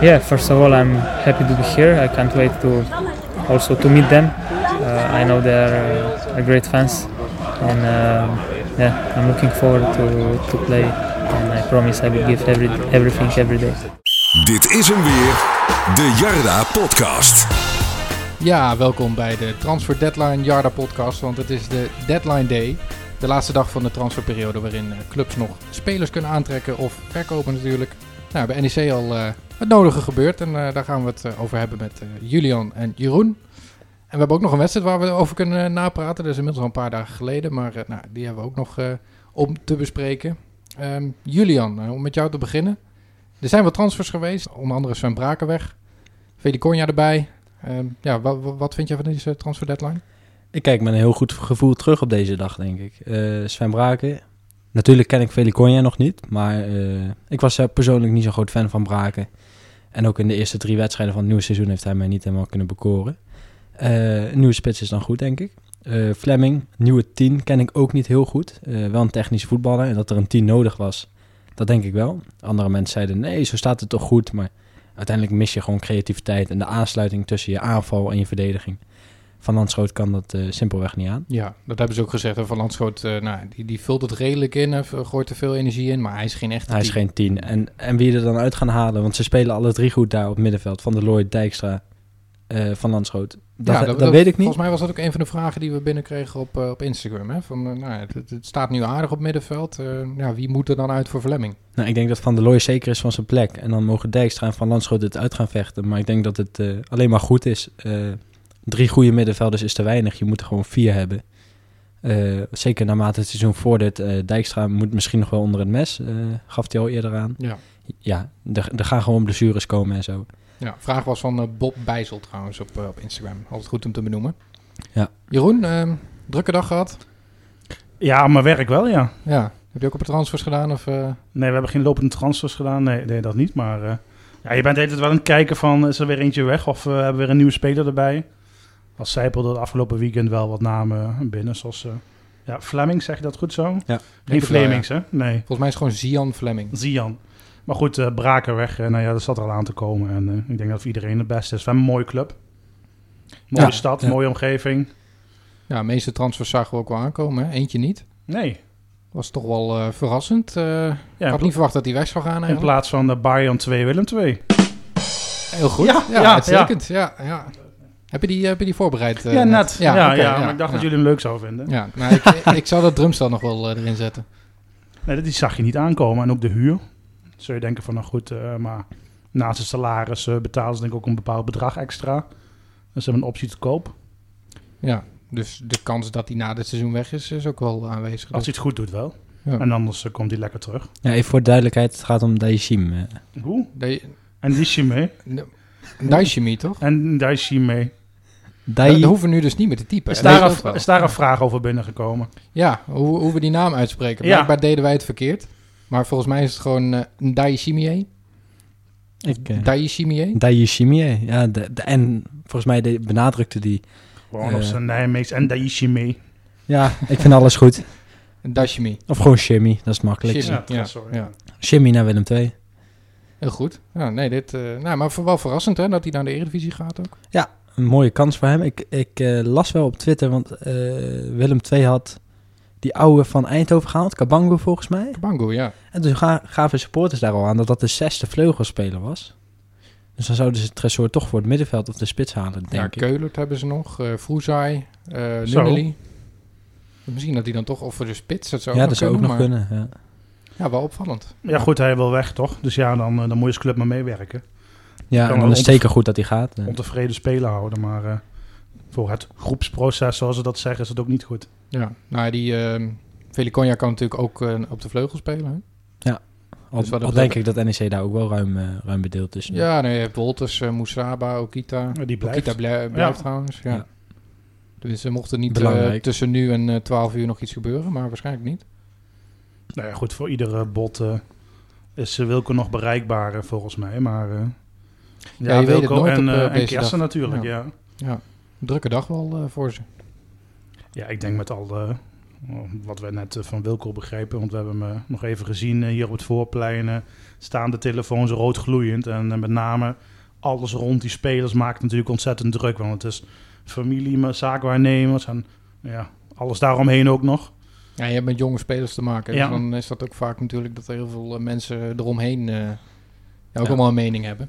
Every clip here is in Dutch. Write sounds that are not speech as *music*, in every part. yeah, first of all, I'm happy to be here. I can't wait to also to meet them. Uh, I know they are uh, great fans, and uh, yeah, I'm looking forward to, to play. And I promise I will give every, everything every day. Dit is hem weer, de Jarda Podcast. Ja, welkom bij de Transfer Deadline Jarda podcast, want het is de deadline day. De laatste dag van de transferperiode waarin eh, clubs nog spelers kunnen aantrekken of verkopen natuurlijk. Nou, bij NEC al eh, het nodige gebeurd en eh, daar gaan we het eh, over hebben met eh, Julian en Jeroen. En we hebben ook nog een wedstrijd waar we over kunnen eh, napraten. Dat is inmiddels al een paar dagen geleden, maar eh, nou, die hebben we ook nog eh, om te bespreken. Ehm, Julian, eh, om met jou te beginnen. Er zijn wat transfers geweest, onder andere Sven Brakenweg, Vediconja erbij. Ehm, ja, wa- wa- wat vind jij van deze transfer deadline? Ik kijk met een heel goed gevoel terug op deze dag, denk ik. Eh Sven Braken. Natuurlijk ken ik Velikonja nog niet, maar eh, ik was eh, persoonlijk niet zo'n groot fan van Braken. En ook in de eerste drie wedstrijden van het nieuwe seizoen heeft hij mij niet helemaal kunnen bekoren. Eh, een nieuwe spits is dan goed, denk ik. Eh, Fleming, nieuwe 10, ken ik ook niet heel goed. Eh, wel een technisch voetballer en dat er een 10 nodig was, dat denk ik wel. Andere mensen zeiden nee, zo staat het toch goed, maar uiteindelijk mis je gewoon creativiteit en de aansluiting tussen je aanval en je verdediging. Van Landschoot kan dat eh, simpelweg niet aan. Ja, dat hebben ze ook gezegd. hè. Van Landschoot, eh, nou, die, die vult het redelijk in, hè, gooit er veel energie in, maar hij is geen echte Hij is team. geen 10. En, en wie er dan uit gaan halen, want ze spelen alle drie goed daar op het middenveld. Van de Lloyd, Dijkstra, eh, Van Landschoot. Dat, Ja, dat, weet ik niet. Volgens mij was dat ook een van de vragen die we binnenkregen op, eh, op Instagram. Hè? Van, eh, nou, ja, het, het staat nu aardig op middenveld. Eh, ja, wie moet er dan uit voor Verlemming? Nou, ik denk dat Van der Looy zeker is van zijn plek. En dan mogen Dijkstra en Van Landschoot het uit gaan vechten. Maar ik denk dat het eh, alleen maar goed is. Eh, drie goede middenvelders is te weinig. Je moet er gewoon vier hebben. Eh, zeker naarmate het seizoen vordert. eh, Dijkstra moet misschien nog wel onder het mes. eh, gaf hij al eerder aan. Ja. Ja, er, er gaan gewoon blessures komen en zo. ja vraag was van eh, Bob Bijzel trouwens op, eh, op Instagram. Altijd goed om te benoemen. Ja. Jeroen, eh, drukke dag gehad. Ja, aan mijn werk wel, ja. Ja. Heb je ook op de transfers gedaan? Of, eh, Nee, we hebben geen lopende transfers gedaan. Nee, nee dat niet. Maar eh, ja, je bent de hele tijd wel aan het kijken van... is er weer eentje weg of eh, hebben we weer een nieuwe speler erbij? Als zijpelde het afgelopen weekend wel wat namen binnen. Zoals eh ja, Fleming, zeg je dat goed zo? Geen denk het wel, ja. Flemings, hè? Nee, Volgens mij is het gewoon Zian Fleming. Zian. Maar goed, eh Braken weg. eh, nou ja, dat zat er al aan te komen. En eh, ik denk dat voor iedereen het beste is. We hebben een mooie club. Mooie Ja. stad, Ja. mooie omgeving. Ja, de meeste transfers zagen we ook wel aankomen. Hè? Eentje niet. Nee. Was toch wel eh, verrassend. Eh, Ja, ik in had niet verwacht dat hij weg zou gaan pla- in eigenlijk. plaats van de Bayern 2, Willem 2. Heel goed. Ja, Ja, ja, ja, uitstekend. Ja. Ja, heb, je die, heb je die voorbereid? eh, ja, net. Ja, ja, oké, maar ik dacht dat ja. jullie hem leuk zouden vinden. Ja, maar ik, ik- ik zou dat drumstel nog wel eh, erin zetten. Nee, dat- die zag je niet aankomen. En ook de huur. Zou je denken van, nou goed, eh, maar naast het salaris eh, betalen ze denk ik ook een bepaald bedrag extra. Dus ze hebben een optie te koop. Ja, dus de kans dat hij na dit seizoen weg is, is ook wel aanwezig. Als hij het goed doet wel. Ja. En anders eh, komt hij lekker terug. Ja, even voor duidelijkheid, het gaat om Daishim. eh. Hoe? Dus En Dishime. de- de- Daishimi, toch? En Daishime. Dai- Daar hoeven we nu dus niet meer te typen. Is hè? daar, Dat een, ook wel. is daar een vraag over binnengekomen? Ja, hoe, hoe we die naam uitspreken. Ja. Blijkbaar deden wij het verkeerd. Maar volgens mij is het gewoon eh, een Daishimie. ik, eh, Daishimie. Daishimie. Ja, de, de- en volgens mij de- benadrukte die. Gewoon Eh. op zijn Nijmeeks. En Daishime. Ja, ik vind alles goed. Een Daishimi. Of gewoon Shimmy, dat is makkelijk. Shimmy. Shimmy, Ja, Ja, sorry. Ja. naar Willem II. Heel goed. Ja, nee, dit, eh, nou, maar wel verrassend hè, dat hij naar de Eredivisie gaat ook. Een mooie kans voor hem. Ik, ik eh, las wel op Twitter, want eh, Willem II had die oude van Eindhoven gehaald, Kabango volgens mij. Kabango, ja. En toen ga- gaven supporters daar al aan dat dat de zesde vleugelspeler was. Dus dan zouden ze het Tresor toch voor het middenveld of de spits halen, denk ja, ik. Keulert hebben ze nog. eh Vroezai. eh Zo. Nunnely. Misschien dat hij dan toch... Of voor de spits, dat zou ja, ook dat nog zou ook kunnen. maar- nog kunnen. Ja. Ja, wel opvallend. Ja, goed, hij wil weg toch? Dus ja, dan, eh, dan moet je als club maar meewerken. Ja, en wel dan is ont- het zeker goed dat hij gaat. eh. Ja. Ontevreden spelen houden. Maar eh, voor het groepsproces, zoals ze dat zeggen, is het ook niet goed. Ja, nou ja, die... ehm Velikonja kan natuurlijk ook eh, op de vleugel spelen. Hè? Al, Dus wat dat al denk ik dat NEC daar ook wel ruim, eh, ruim bedeeld is. Ja, nee, je hebt Wolters, eh, Moesaba, Okita. Ja, Die blijft. Okita blij- blijft Ja. trouwens, ja. Ja. Dus er mocht er niet Belangrijk. eh, tussen nu en eh, 12 uur nog iets gebeuren, maar waarschijnlijk niet. Nou ja, goed, voor iedere bot eh, is eh, Wilco nog bereikbaar eh, volgens mij. Maar eh, Ja, je weet het nooit en, op, eh, eh, en deze Kersen natuurlijk, Ja. ja. ja. Drukke dag wel eh, voor ze. ik denk met al de Wat we net eh, van Wilco begrijpen, want we hebben hem eh, nog even gezien eh, hier op het voorplein. eh, staan de telefoons rood gloeiend. En eh, met name alles rond die spelers maakt natuurlijk ontzettend druk. Want het is familie, maar zaakwaarnemers en ja, alles daaromheen ook nog. Ja, je hebt met jonge spelers te maken. Ja. Dus dan is dat ook vaak natuurlijk dat er heel veel eh, mensen eromheen eh, ja, ook Ja. allemaal een mening hebben.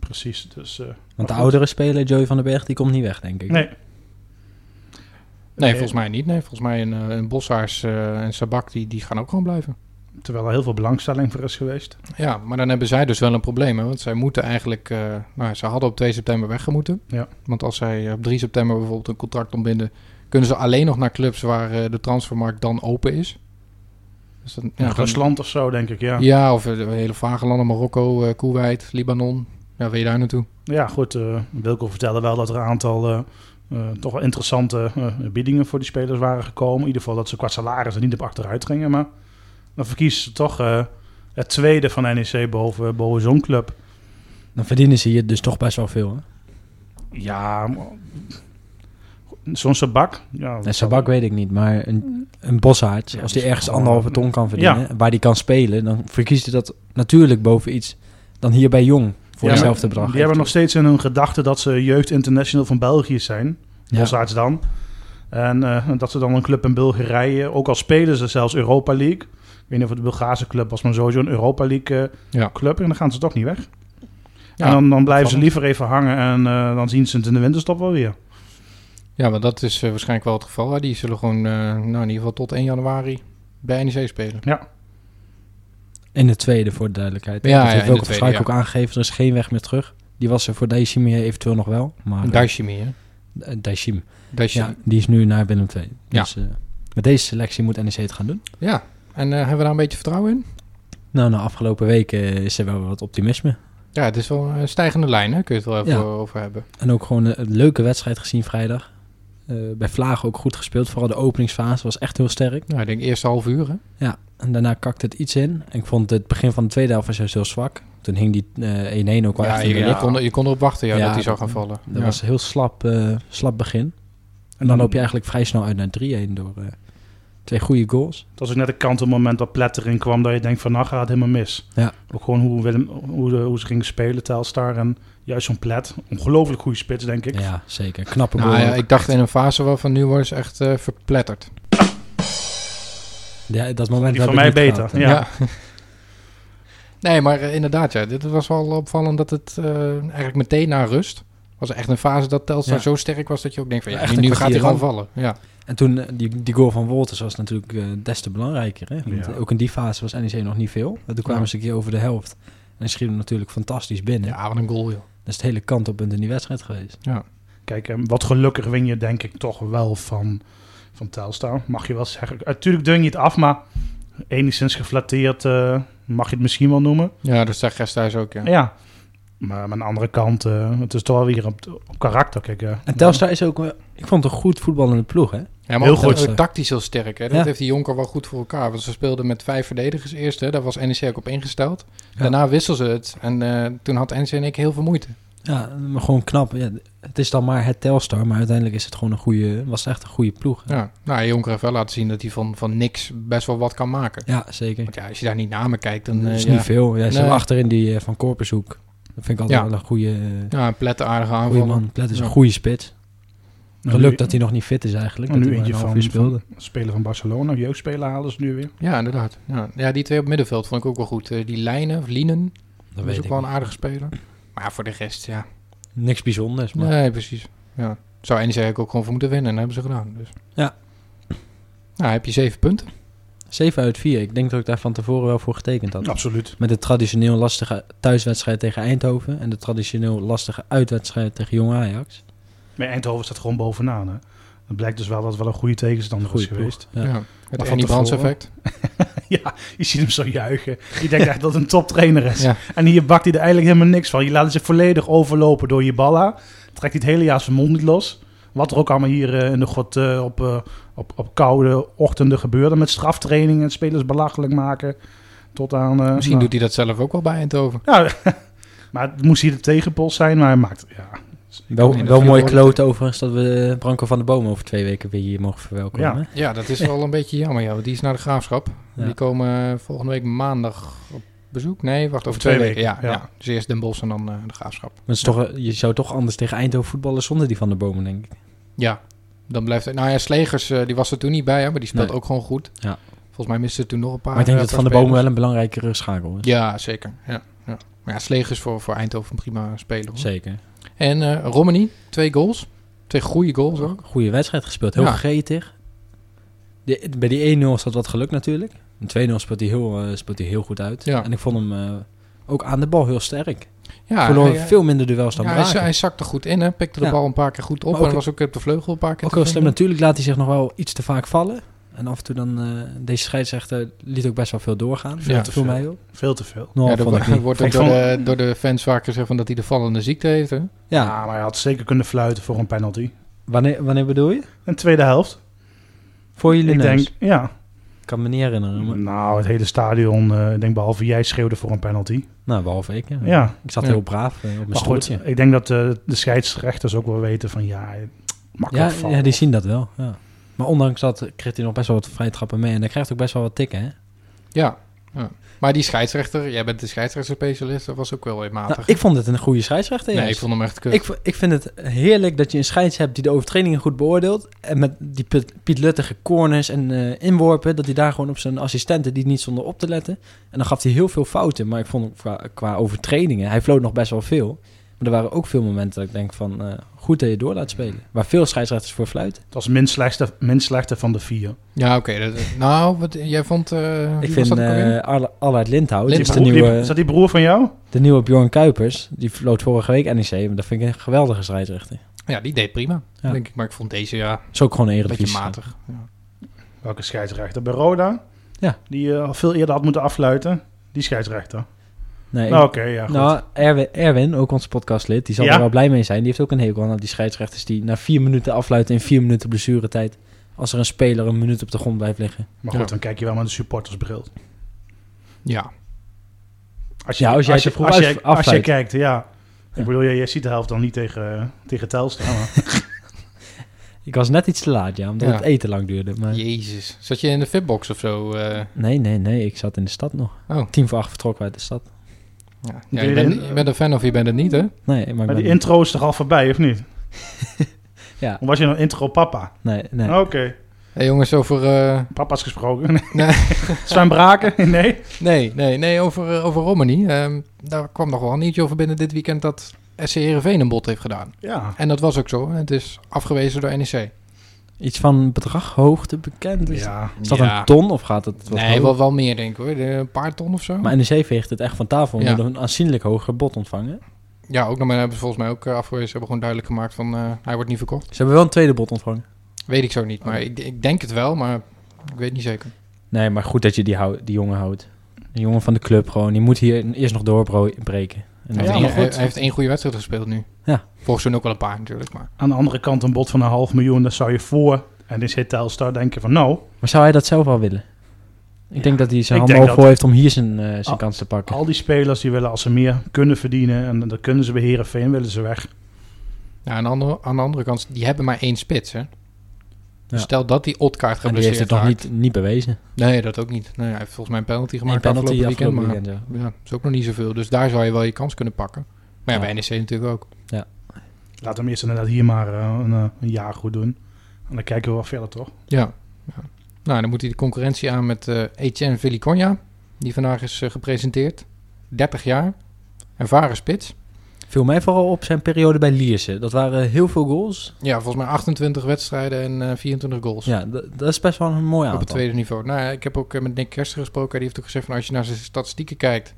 Precies, dus... eh, maar Want de goed. oudere speler, Joey van den Berg, die komt niet weg, denk ik. Nee. Nee, volgens mij niet. Nee, volgens mij een, eh, een Bossaars eh, en Sabak, die, die gaan ook gewoon blijven. Terwijl er heel veel belangstelling voor is geweest. Ja, maar dan hebben zij dus wel een probleem. Hè? Want zij moeten eigenlijk... eh, nou, ze hadden op 2 september weggemoeten. Ja. Want als zij op 3 september bijvoorbeeld een contract ontbinden... kunnen ze alleen nog naar clubs waar eh, de transfermarkt dan open is. Dus dan, Ja, ja, dan- Rusland of zo, denk ik, ja. Ja, Ja, of eh, de hele vage landen. Marokko, eh Kuwait, Libanon. Ja, wil je daar naartoe? goed. eh Wilco vertelde wel dat er een aantal eh, eh, toch wel interessante eh, biedingen voor die spelers waren gekomen. In ieder geval dat ze qua salaris er niet op achteruit gingen. Maar dan verkiezen ze toch eh, het tweede van NEC boven, eh, boven zo'n club. Dan verdienen ze hier dus toch best wel veel. Hè? Ja, maar- zo'n Sabak. Ja, En Sabak weet ik niet, maar een, een boshaard, als Ja, die dus- die is ergens gewoon- anderhalve ton kan verdienen, waar die kan spelen, dan verkiest hij dat natuurlijk boven iets dan hier bij Jong voor Ja, hetzelfde Die bedrag. hebben nog steeds in hun gedachten dat ze jeugd international van België zijn. Ja. Bosarts dan. En eh, dat ze dan een club in Bulgarije, ook al spelen ze zelfs Europa League. Ik weet niet of het een Bulgaarse club was, maar sowieso een Europa League eh, Ja. club. En dan gaan ze toch niet weg. Ja, en dan, dan blijven ze klopt. liever even hangen en eh, dan zien ze het in de winterstop wel weer. Ja, maar dat is eh, waarschijnlijk wel het geval. Hè? Die zullen gewoon, eh, nou in ieder geval tot 1 januari bij NEC spelen. In de tweede, voor de duidelijkheid. Ja, Ja, ja, dat in heeft de Wilco tweede, Verschuik ja. ook aangegeven, er is geen weg meer terug. Die was er voor Daishimi eventueel nog wel, maar... eh, Daishimi, hè? eh, Daishim. Daishimi. Ja, die is nu naar Willem II. Ja. Dus eh, met deze selectie moet NEC het gaan doen. Ja. En eh, hebben we daar een beetje vertrouwen in? Nou, na afgelopen weken eh, is er wel wat optimisme. Ja, het is wel een stijgende lijn, hè? Kun je het wel even Ja. over hebben. En ook gewoon een, een leuke wedstrijd gezien vrijdag. Eh, bij Vlaag ook goed gespeeld. Vooral de openingsfase was echt heel sterk. Nou, ik denk eerste half uur, hè? En daarna kakte het iets in. En ik vond het begin van de tweede helft was juist heel zwak. Toen hing die eh, 1-1 ook wel Ja, echt je, in de je lucht. kon, je kon erop wachten ja, Ja, dat hij zou dat- gaan vallen. Dat Ja. Mm. was een heel slap, eh, slap begin. En dan loop je eigenlijk vrij snel uit naar 3-1 door eh, twee goede goals. Het was ook net een kant op het moment dat Platter in kwam, dat je denkt van nou gaat het helemaal mis. Ja. Ook gewoon hoe, Willem, hoe, de- hoe ze gingen spelen, Telstar en juist zo'n Plet. Ongelooflijk goede spits, denk ik. Ja, zeker. Knappe goal. Nou ja, ook. ik dacht in een fase waarvan nu wordt ze echt eh, verpletterd. Ja, dat moment Die heb van ik mij niet beter. gehad. Ja. *laughs* nee, maar eh, inderdaad, ja. Dit was wel opvallend dat het eh, eigenlijk meteen na rust... was echt een fase dat Telstar Ja. zo sterk was dat je ook denkt van... Ja, ja, echt nu, een nu gaat hij kwartier gewoon vallen. Ja. En toen eh, die, die goal van Wolters was natuurlijk eh, des te belangrijker. Hè? Want eh, Ja. Ook in die fase was NEC nog niet veel. En toen kwamen Ja. ze een keer over de helft. En hij schiet hem natuurlijk fantastisch binnen. ja, wat een goal, joh. Dat is het hele kantelpunt in die wedstrijd geweest. Kijk, en wat gelukkig win je denk ik toch wel van, van Telstar. Mag je wel zeggen. Natuurlijk dwing je het af, maar enigszins geflatteerd eh, mag je het misschien wel noemen. Ja, dus dat zegt gesthuis ook, ja. Ja. Maar aan de andere kant, eh, het is toch wel weer op, op karakter. Kijk, eh. En Telstar is ook... eh, Ik vond het een goed voetballende ploeg, hè? Ja, maar Heel ook goed. dat- ook tactisch heel sterk. Hè? Dat Ja. heeft die Jonker wel goed voor elkaar. Want ze speelden met vijf verdedigers eerst. Hè? Daar was NEC ook op ingesteld. Ja. Daarna wisselden ze het. En eh, toen had NEC en ik heel veel moeite. Ja, maar gewoon knap. Ja, het is dan maar het Telstar, maar uiteindelijk is het gewoon een goede... Was het echt een goede ploeg. hè? Ja. Nou, Jonker heeft wel laten zien dat hij van, van niks best wel wat kan maken. Ja, zeker. Want ja, als je daar niet naar me kijkt, dan... Dat eh, is ja. niet veel. Ja, ze Nee. hebben achterin die eh, van Korpershoek. Dat vind ik altijd Ja. wel een goede, eh, ja, een plette aardige goede aanval. man. Dat is een Ja. goede spits. Geluk nou, nu- dat hij nog niet fit is eigenlijk. en Dat nu hij maar een eentje half van, uur speelde. van speler van Barcelona, jeugdspeler halen ze nu weer. Ja, inderdaad. Ja. ja, die twee op middenveld vond ik ook wel goed. Eh, die Lijnen, of Lienen, Dat dat weet is ook ik wel een niet. aardige speler. Maar ja, voor de rest, ja. Niks bijzonders, maar Nee, precies. Ja. Zou NEC eigenlijk ook gewoon voor moeten winnen. En dat hebben ze gedaan. Dus. Ja. Nou, heb je zeven punten. 7 uit 4. Ik denk dat ik daar van tevoren wel voor getekend had. Absoluut. Met de traditioneel lastige thuiswedstrijd tegen Eindhoven... en de traditioneel lastige uitwedstrijd tegen Jong Ajax. Maar Eindhoven staat gewoon bovenaan. Hè. Het blijkt dus wel dat het wel een goede tegenstander Goeie is ploeg. geweest. Ja. Ja. Het van Ernie Brands tevoren. effect. Je ziet hem zo juichen. Je denkt echt dat het een toptrainer is. Ja. En hier bakt hij er eigenlijk helemaal niks van. Je laat zich volledig overlopen door je balla. Trekt hij het hele jaar zijn mond niet los. Wat er ook allemaal hier eh, in de god eh, op, eh, op, op koude ochtenden gebeurde. Met straftrainingen, en spelers belachelijk maken. Tot aan... eh, Misschien nou, doet hij dat zelf ook wel bij Eindhoven. ja, maar het moest hier de tegenpols zijn, maar hij maakt... Ja, Wel, Nee, dat wel vind mooi ik wel- kloten overigens dat we eh, Branko van de Boom over twee weken weer hier mogen verwelkomen. Ja. hè? Ja, dat is wel een beetje jammer. Ja, want die is naar de graafschap. Ja. Die komen eh, volgende week maandag op bezoek. Nee, wacht, over twee, twee weken. weken, Ja, ja. ja. Dus eerst Den Bosch en dan eh, de graafschap. Maar het is toch, je zou toch anders tegen Eindhoven voetballen zonder die van de Bomen, denk ik. Ja, dan blijft het. Nou ja, Slegers, eh, die was er toen niet bij, hè, maar die speelt Nee. ook gewoon goed. Ja. Volgens mij miste toen nog een paar. Maar ik denk eh, dat Van de paar Bomen wel spelers. een belangrijkere schakel is. Ja, zeker. Ja, ja. Maar ja, Slegers voor, voor Eindhoven een prima speler. hoor. Zeker. En eh Romani, twee goals. Twee goede goals ook. Goede wedstrijd gespeeld, heel Ja. gretig. De, bij die 1-0 zat wat geluk natuurlijk. In 2-0 speelt hij heel, eh, speelt hij heel goed uit. Ja. En ik vond hem eh, ook aan de bal heel sterk. Ja, Verloor hij, eh, veel minder duels dan ja, hij, Braken. hij zakte goed in, hè, pikte de Ja. bal een paar keer goed op. Maar ook- en was ook op de vleugel een paar keer Ook te heel slim, vinden. natuurlijk laat hij zich nog wel iets te vaak vallen. En af en toe dan, eh, deze scheidsrechter liet ook best wel veel doorgaan. Ja. Ja, te veel mij op. Veel te veel. Nou, ja, er vond ik wordt- niet. wordt ook Ik door, vond- de, door de fans vaak gezegd van dat hij de vallende ziekte heeft. Hè? Ja. Ja, Ah, maar hij had zeker kunnen fluiten voor een penalty. wanneer, wanneer bedoel je? En tweede helft. Voor jullie ik neus. denk, ja. Ik kan me niet herinneren. maar- Nou, het hele stadion, eh, ik denk behalve jij schreeuwde voor een penalty. Nou, behalve ik. Ja. Ja, Ik zat Ja. heel braaf eh, op mijn maar goed. stoeltje. Ik denk dat eh, de scheidsrechters ook wel weten van ja, makkelijk Ja, vallen. ja, die zien dat wel. Ja. Maar ondanks dat kreeg hij nog best wel wat vrije trappen mee. En hij krijgt ook best wel wat tikken. Hè? Ja. ja. Maar die scheidsrechter, jij bent de scheidsrechterspecialist, dat was ook wel weer matig. Nou, ik vond het een goede scheidsrechter. nee, juist. ik vond hem echt kut. ik, vo- ik vind het heerlijk dat je een scheids hebt die de overtredingen goed beoordeelt. En met die Piet, Piet Luttige corners en eh, inworpen, dat hij daar gewoon op zijn assistenten die niet zonder op te letten. En dan gaf hij heel veel fouten. Maar ik vond hem qua, qua overtredingen, hij floot nog best wel veel. Maar er waren ook veel momenten dat ik denk van eh, goed dat je door laat spelen. Waar veel scheidsrechters voor fluiten. Het was minst slechtste, minst slechte van de vier. Ja, oké. dat- nou, wat, jij vond... eh, wie Ik was vind dat ook alweer? eh Al- Allard Lindhout. Lindhout, die is de broer- nieuwe, is dat die broer van jou? de nieuwe Bjorn Kuipers. Die floot vorige week NEC. Maar dat vind ik een geweldige scheidsrechter. Ja, die deed prima, Ja. denk ik. Maar ik vond deze ja, Is ook gewoon een een beetje eredivisie. matig. Ja. Welke scheidsrechter? Bij Roda? Ja. Die eh, al veel eerder had moeten afluiten. Die scheidsrechter. Nee, ik- nou, oké, ja, goed. Nou, Erwin, Erwin, ook ons podcastlid, die zal Ja? er wel blij mee zijn. Die heeft ook een hekel aan die scheidsrechters die na vier minuten afluiten in vier minuten blessuretijd. Als er een speler een minuut op de grond blijft liggen. maar goed, ja. dan kijk je wel met de supportersbril. ja. Als Ja, als jij je, te vroeg als af- je, als je afluit. kijkt, ja. Ja. Ik bedoel, jij, jij ziet de helft dan niet tegen, eh, *laughs* tegen Telstra. Maar Ik was net iets te laat, ja, omdat Ja. het eten lang duurde. Maar... Jezus. Zat je in de fitbox of zo? eh? Nee, nee, nee, ik zat in de stad nog. Oh. Tien voor acht vertrokken we uit de stad. ja. Doe Ja, je je, bent, erin? je bent een fan of je bent het niet, hè? Nee, maar ik maar die ben- intro is toch al voorbij, of niet? *laughs* Ja. Of was je nou intro papa? Nee, nee. Oh. Oké, Hey, jongens, over... eh, papa's *laughs* gesproken. Nee. Sven *laughs* Braken? Nee. nee, nee, nee, over, eh, over Romani. Ehm, daar kwam nog wel een nieuwtje over binnen dit weekend dat SC Heerenveen een bot heeft gedaan. Ja. En dat was ook zo. Het is afgewezen door E NEC. Iets van bedraghoogte bekend. Is, Ja. is dat Ja. een ton of gaat het wat Nee, hoger? wel, wel meer denk ik hoor. Een paar ton of zo. Maar NEC veegt het echt van tafel omdat Ja. een aanzienlijk hoger bod ontvangen. Ja, ook nog maar hebben ze volgens mij ook eh, afgewezen. Ze hebben gewoon duidelijk gemaakt van eh, hij wordt niet verkocht. Ze hebben wel een tweede bod ontvangen. Weet ik zo niet, maar ik, ik denk het wel, maar ik weet niet zeker. Nee, maar goed dat je die, hou- die jongen houdt. Die jongen van de club gewoon. Die moet hier eerst nog doorbreken. En Hij, dan Ja, heeft, één, maar hij, goed. hij heeft één goede wedstrijd gespeeld nu. Ja. Volgens hun ook wel een paar natuurlijk, maar Aan de andere kant een bod van een half miljoen. Dan zou je voor, en dit zit Telstar, denken van nou, Maar zou hij dat zelf wel willen? Ik denk dat hij zijn Ik handen denk al dat- voor heeft om hier zijn, eh, zijn Ah, kans te pakken. al die spelers die willen als ze meer kunnen verdienen. En dan kunnen ze bij Herenveen, willen ze weg. ja, aan, de andere, aan de andere kant, die hebben maar één spits. Hè? Dus Ja. stel dat die Otkaart en die geblesseerd heeft het nog raakt. niet, niet bewezen. Nee, dat ook niet. Nee, hij heeft volgens mij een penalty Maar gemaakt penalty afgelopen weekend, afgelopen maar weekend, ja. ja, is ook nog niet zoveel. Dus daar zou je wel je kans kunnen pakken. Maar ja, Ja. bij NEC natuurlijk ook. Laat hem eerst inderdaad hier maar eh, een, eh, een jaar goed doen. En dan kijken we wel verder, toch? Ja. ja. Nou, dan moet hij de concurrentie aan met eh Etienne Villiconia. Die vandaag is eh, gepresenteerd. 30 jaar. Ervaren spits. Viel mij vooral op zijn periode bij Liersen. Dat waren heel veel goals. Ja, volgens mij 28 wedstrijden en eh, 24 goals. Ja, d- dat is best wel een mooi Op aantal. het tweede niveau. Nou, ja, ik heb ook eh, met Nick Kersten gesproken. Die heeft ook gezegd van als je naar zijn statistieken kijkt.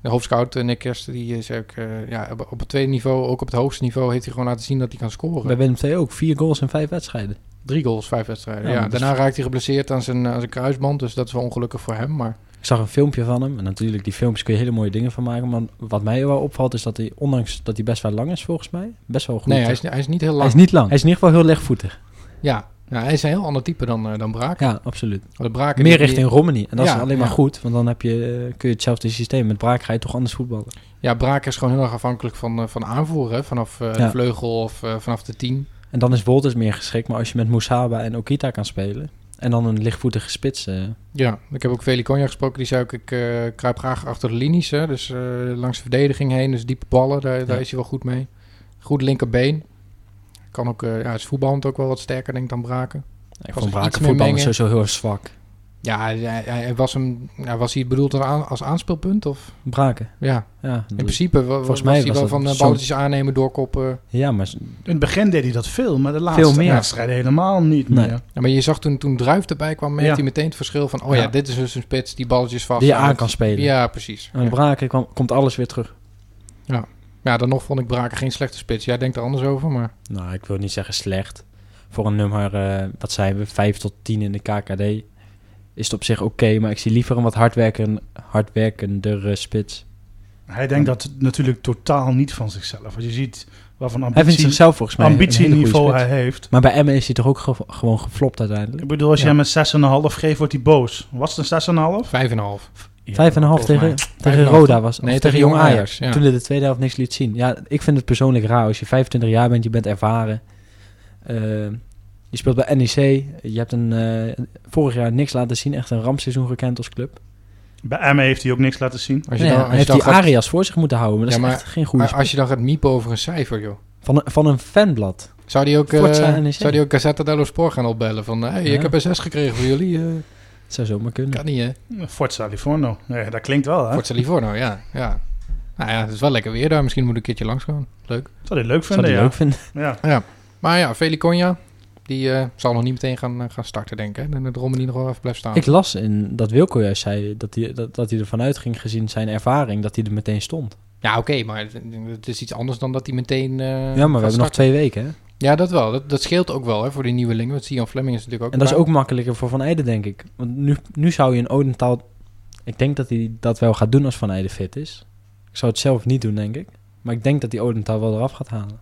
De hoofdscout eh, Nick Kersten, die is ook eh, ja, op- op het tweede niveau, ook op het hoogste niveau, heeft hij gewoon laten zien dat hij kan scoren. Bij Willem II ook. Vier goals in vijf wedstrijden. Drie goals, vijf wedstrijden. Ja, dus- Ja, dat is- daarna raakt hij geblesseerd aan zijn, aan zijn kruisband. Dus dat is wel ongelukkig voor hem. Maar Ik zag een filmpje van hem. En natuurlijk, die filmpjes kun je hele mooie dingen van maken. Maar wat mij wel opvalt is dat hij, ondanks dat hij best wel lang is volgens mij, best wel goed. nee, hij is, hij is niet heel hij lang. is niet lang. Hij is in ieder geval heel lichtvoetig. Ja, Ja, hij is een heel ander type dan, eh, dan Braken. Ja, absoluut. Want Braken Meer die- richting Romani. En dat Ja, is alleen maar ja. goed, want dan heb je, eh, kun je hetzelfde systeem. Met Braak ga je toch anders voetballen. Ja, Braken is gewoon heel erg afhankelijk van, eh, van aanvoeren. hè. Vanaf eh, de Ja. vleugel of eh, vanaf de tien. En dan is Wolters meer geschikt. Maar als je met Moesaba en Okita kan spelen... en dan een lichtvoetige spits... eh, Ja, ik heb ook Velikonja gesproken. Die zei ook, ik eh, kruip graag achter de linies. Hè, dus eh, langs de verdediging heen. Dus diepe ballen, daar, daar Ja. is hij wel goed mee. Goed linkerbeen. Kan ook, eh ja, is voetballend ook wel wat sterker, denk ik, dan Braken. ik Als vond iets Braak meer voetbal mengen. sowieso heel erg zwak. Ja, hij, hij- hij was, hem, ja, was hij bedoeld als aan- als aanspeelpunt? Of? Braken, Ja, ja. in principe wa- was, volgens mij hij was wel dat van eh, zo'n- balletjes aannemen, doorkoppen. Ja, maar In het begin deed hij dat veel, maar de laatste Veel meer. wedstrijden helemaal niet Nee. meer. Ja, maar je zag toen, toen Druif erbij kwam, merkte Ja. hij meteen het verschil van... Oh ja, Ja. dit is dus een spits die balletjes vast die je houdt. aan kan spelen. Ja, precies. En met Ja. Braken kwam, komt alles weer terug. Ja, dan nog vond ik Braken geen slechte spits. Jij denkt er anders over, maar... Nou, ik wil niet zeggen slecht. Voor een nummer, eh, wat zijn we, 5 tot 10 in de KKD... is het op zich oké, maar ik zie liever een wat hardwerken, hardwerkendere spits. Hij denkt dat natuurlijk totaal niet van zichzelf. Als je ziet waarvan Hij vindt ambitie, zichzelf volgens mij een hele goede ambitieniveau spits. hij heeft. Maar bij Emmen is hij toch ook ge- gewoon geflopt uiteindelijk? Ik bedoel, als Ja. je hem een 6,5 geeft, wordt hij boos. Was het een 6,5? Vijf en een half. Ja, Vijf en een half volgens tegen, Vijf tegen en een half. Roda was. of Nee, tegen Jong Ajax, ja. Toen hij de tweede helft niks liet zien. Ja, ik vind het persoonlijk raar. Als je 25 jaar bent, je bent ervaren. Eh, je speelt bij NEC. Je hebt een, eh, vorig jaar niks laten zien. Echt een rampseizoen gekend als club. Bij Emmen heeft hij ook niks laten zien. Als je dan, Nee, ja, als je hij heeft dan die gaat- Arias voor zich moeten houden. Maar dat Ja, is maar- echt geen goede Maar als je dan gaat miepen over een cijfer, joh. speler. van, een- van een fanblad. Zou die ook, eh, Forza NEC. zou die ook Gazzetta dello Sport gaan opbellen? Van, hey, Ja. ik heb een zes gekregen voor jullie. eh, Dat zou zomaar kunnen. kan niet, eh. hè? Forza Livorno. Nee, dat klinkt wel, hè? Forza Livorno, ja. ja. Nou ja, het is wel lekker weer daar. Misschien moet ik een keertje langs gaan. Leuk. Zou hij leuk Zou vinden, hij ja. leuk vinden. ja. Maar ja, Velikonja, die eh, zal nog niet meteen gaan, eh, gaan starten, denk ik. hè? En dat Romani nog wel even blijft staan. Ik las in dat Wilco juist zei dat hij, dat, dat hij ervan uitging gezien zijn ervaring dat hij er meteen stond. Ja, oké, maar het, het is iets anders dan dat hij meteen eh, gaat ja, maar we hebben nog starten. twee weken. Hè? Ja, dat wel. Dat, dat scheelt ook wel, hè, voor die nieuwelingen. Want Sian Fleming is natuurlijk ook... En dat is klaar. ook makkelijker voor Van Eijden, denk ik. Want nu, nu zou je een Odentaal... Ik denk dat hij dat wel gaat doen als Van Eijden fit is. Ik zou het zelf niet doen, denk ik. Maar ik denk dat hij Odentaal wel eraf gaat halen.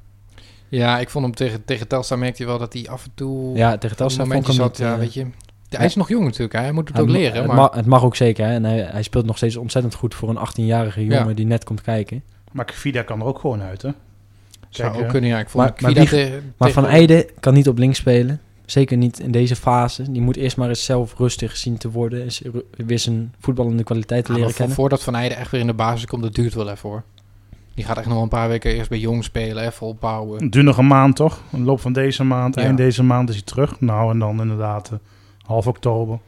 Ja, ik vond hem tegen, tegen Telstra merkte je wel dat hij af en toe... Ja, tegen Telstra vond ik momentjes hem had. niet, Ja, eh, weet je. Hij is nog jong natuurlijk, hè. hij moet het ook hij eh, ma- leren. het, Maar... ma- het mag ook zeker. Hè? En hij, hij speelt nog steeds ontzettend goed voor een 18-jarige Ja. jongen die net komt kijken. Maar Kvida kan er ook gewoon uit, hè? Zou Kijk, ook eh, kunnen, ja. Ik vond maar- Kvida maar wie- te- Maar tegen- Van Eijden kan niet op links spelen. Zeker niet in deze fase. Die moet eerst maar eens zelf rustig zien te worden. en z- ru- Weer zijn voetballende kwaliteit te Ja, maar leren voor- kennen. Voordat Van Eijden echt weer in de basis komt, dat duurt wel even hoor. Die gaat echt nog wel een paar weken eerst bij Jong spelen, even opbouwen. Het duurt nog een maand, toch? Een loop van deze maand, Ja. eind deze maand is hij terug. Nou, en dan inderdaad eh, half oktober.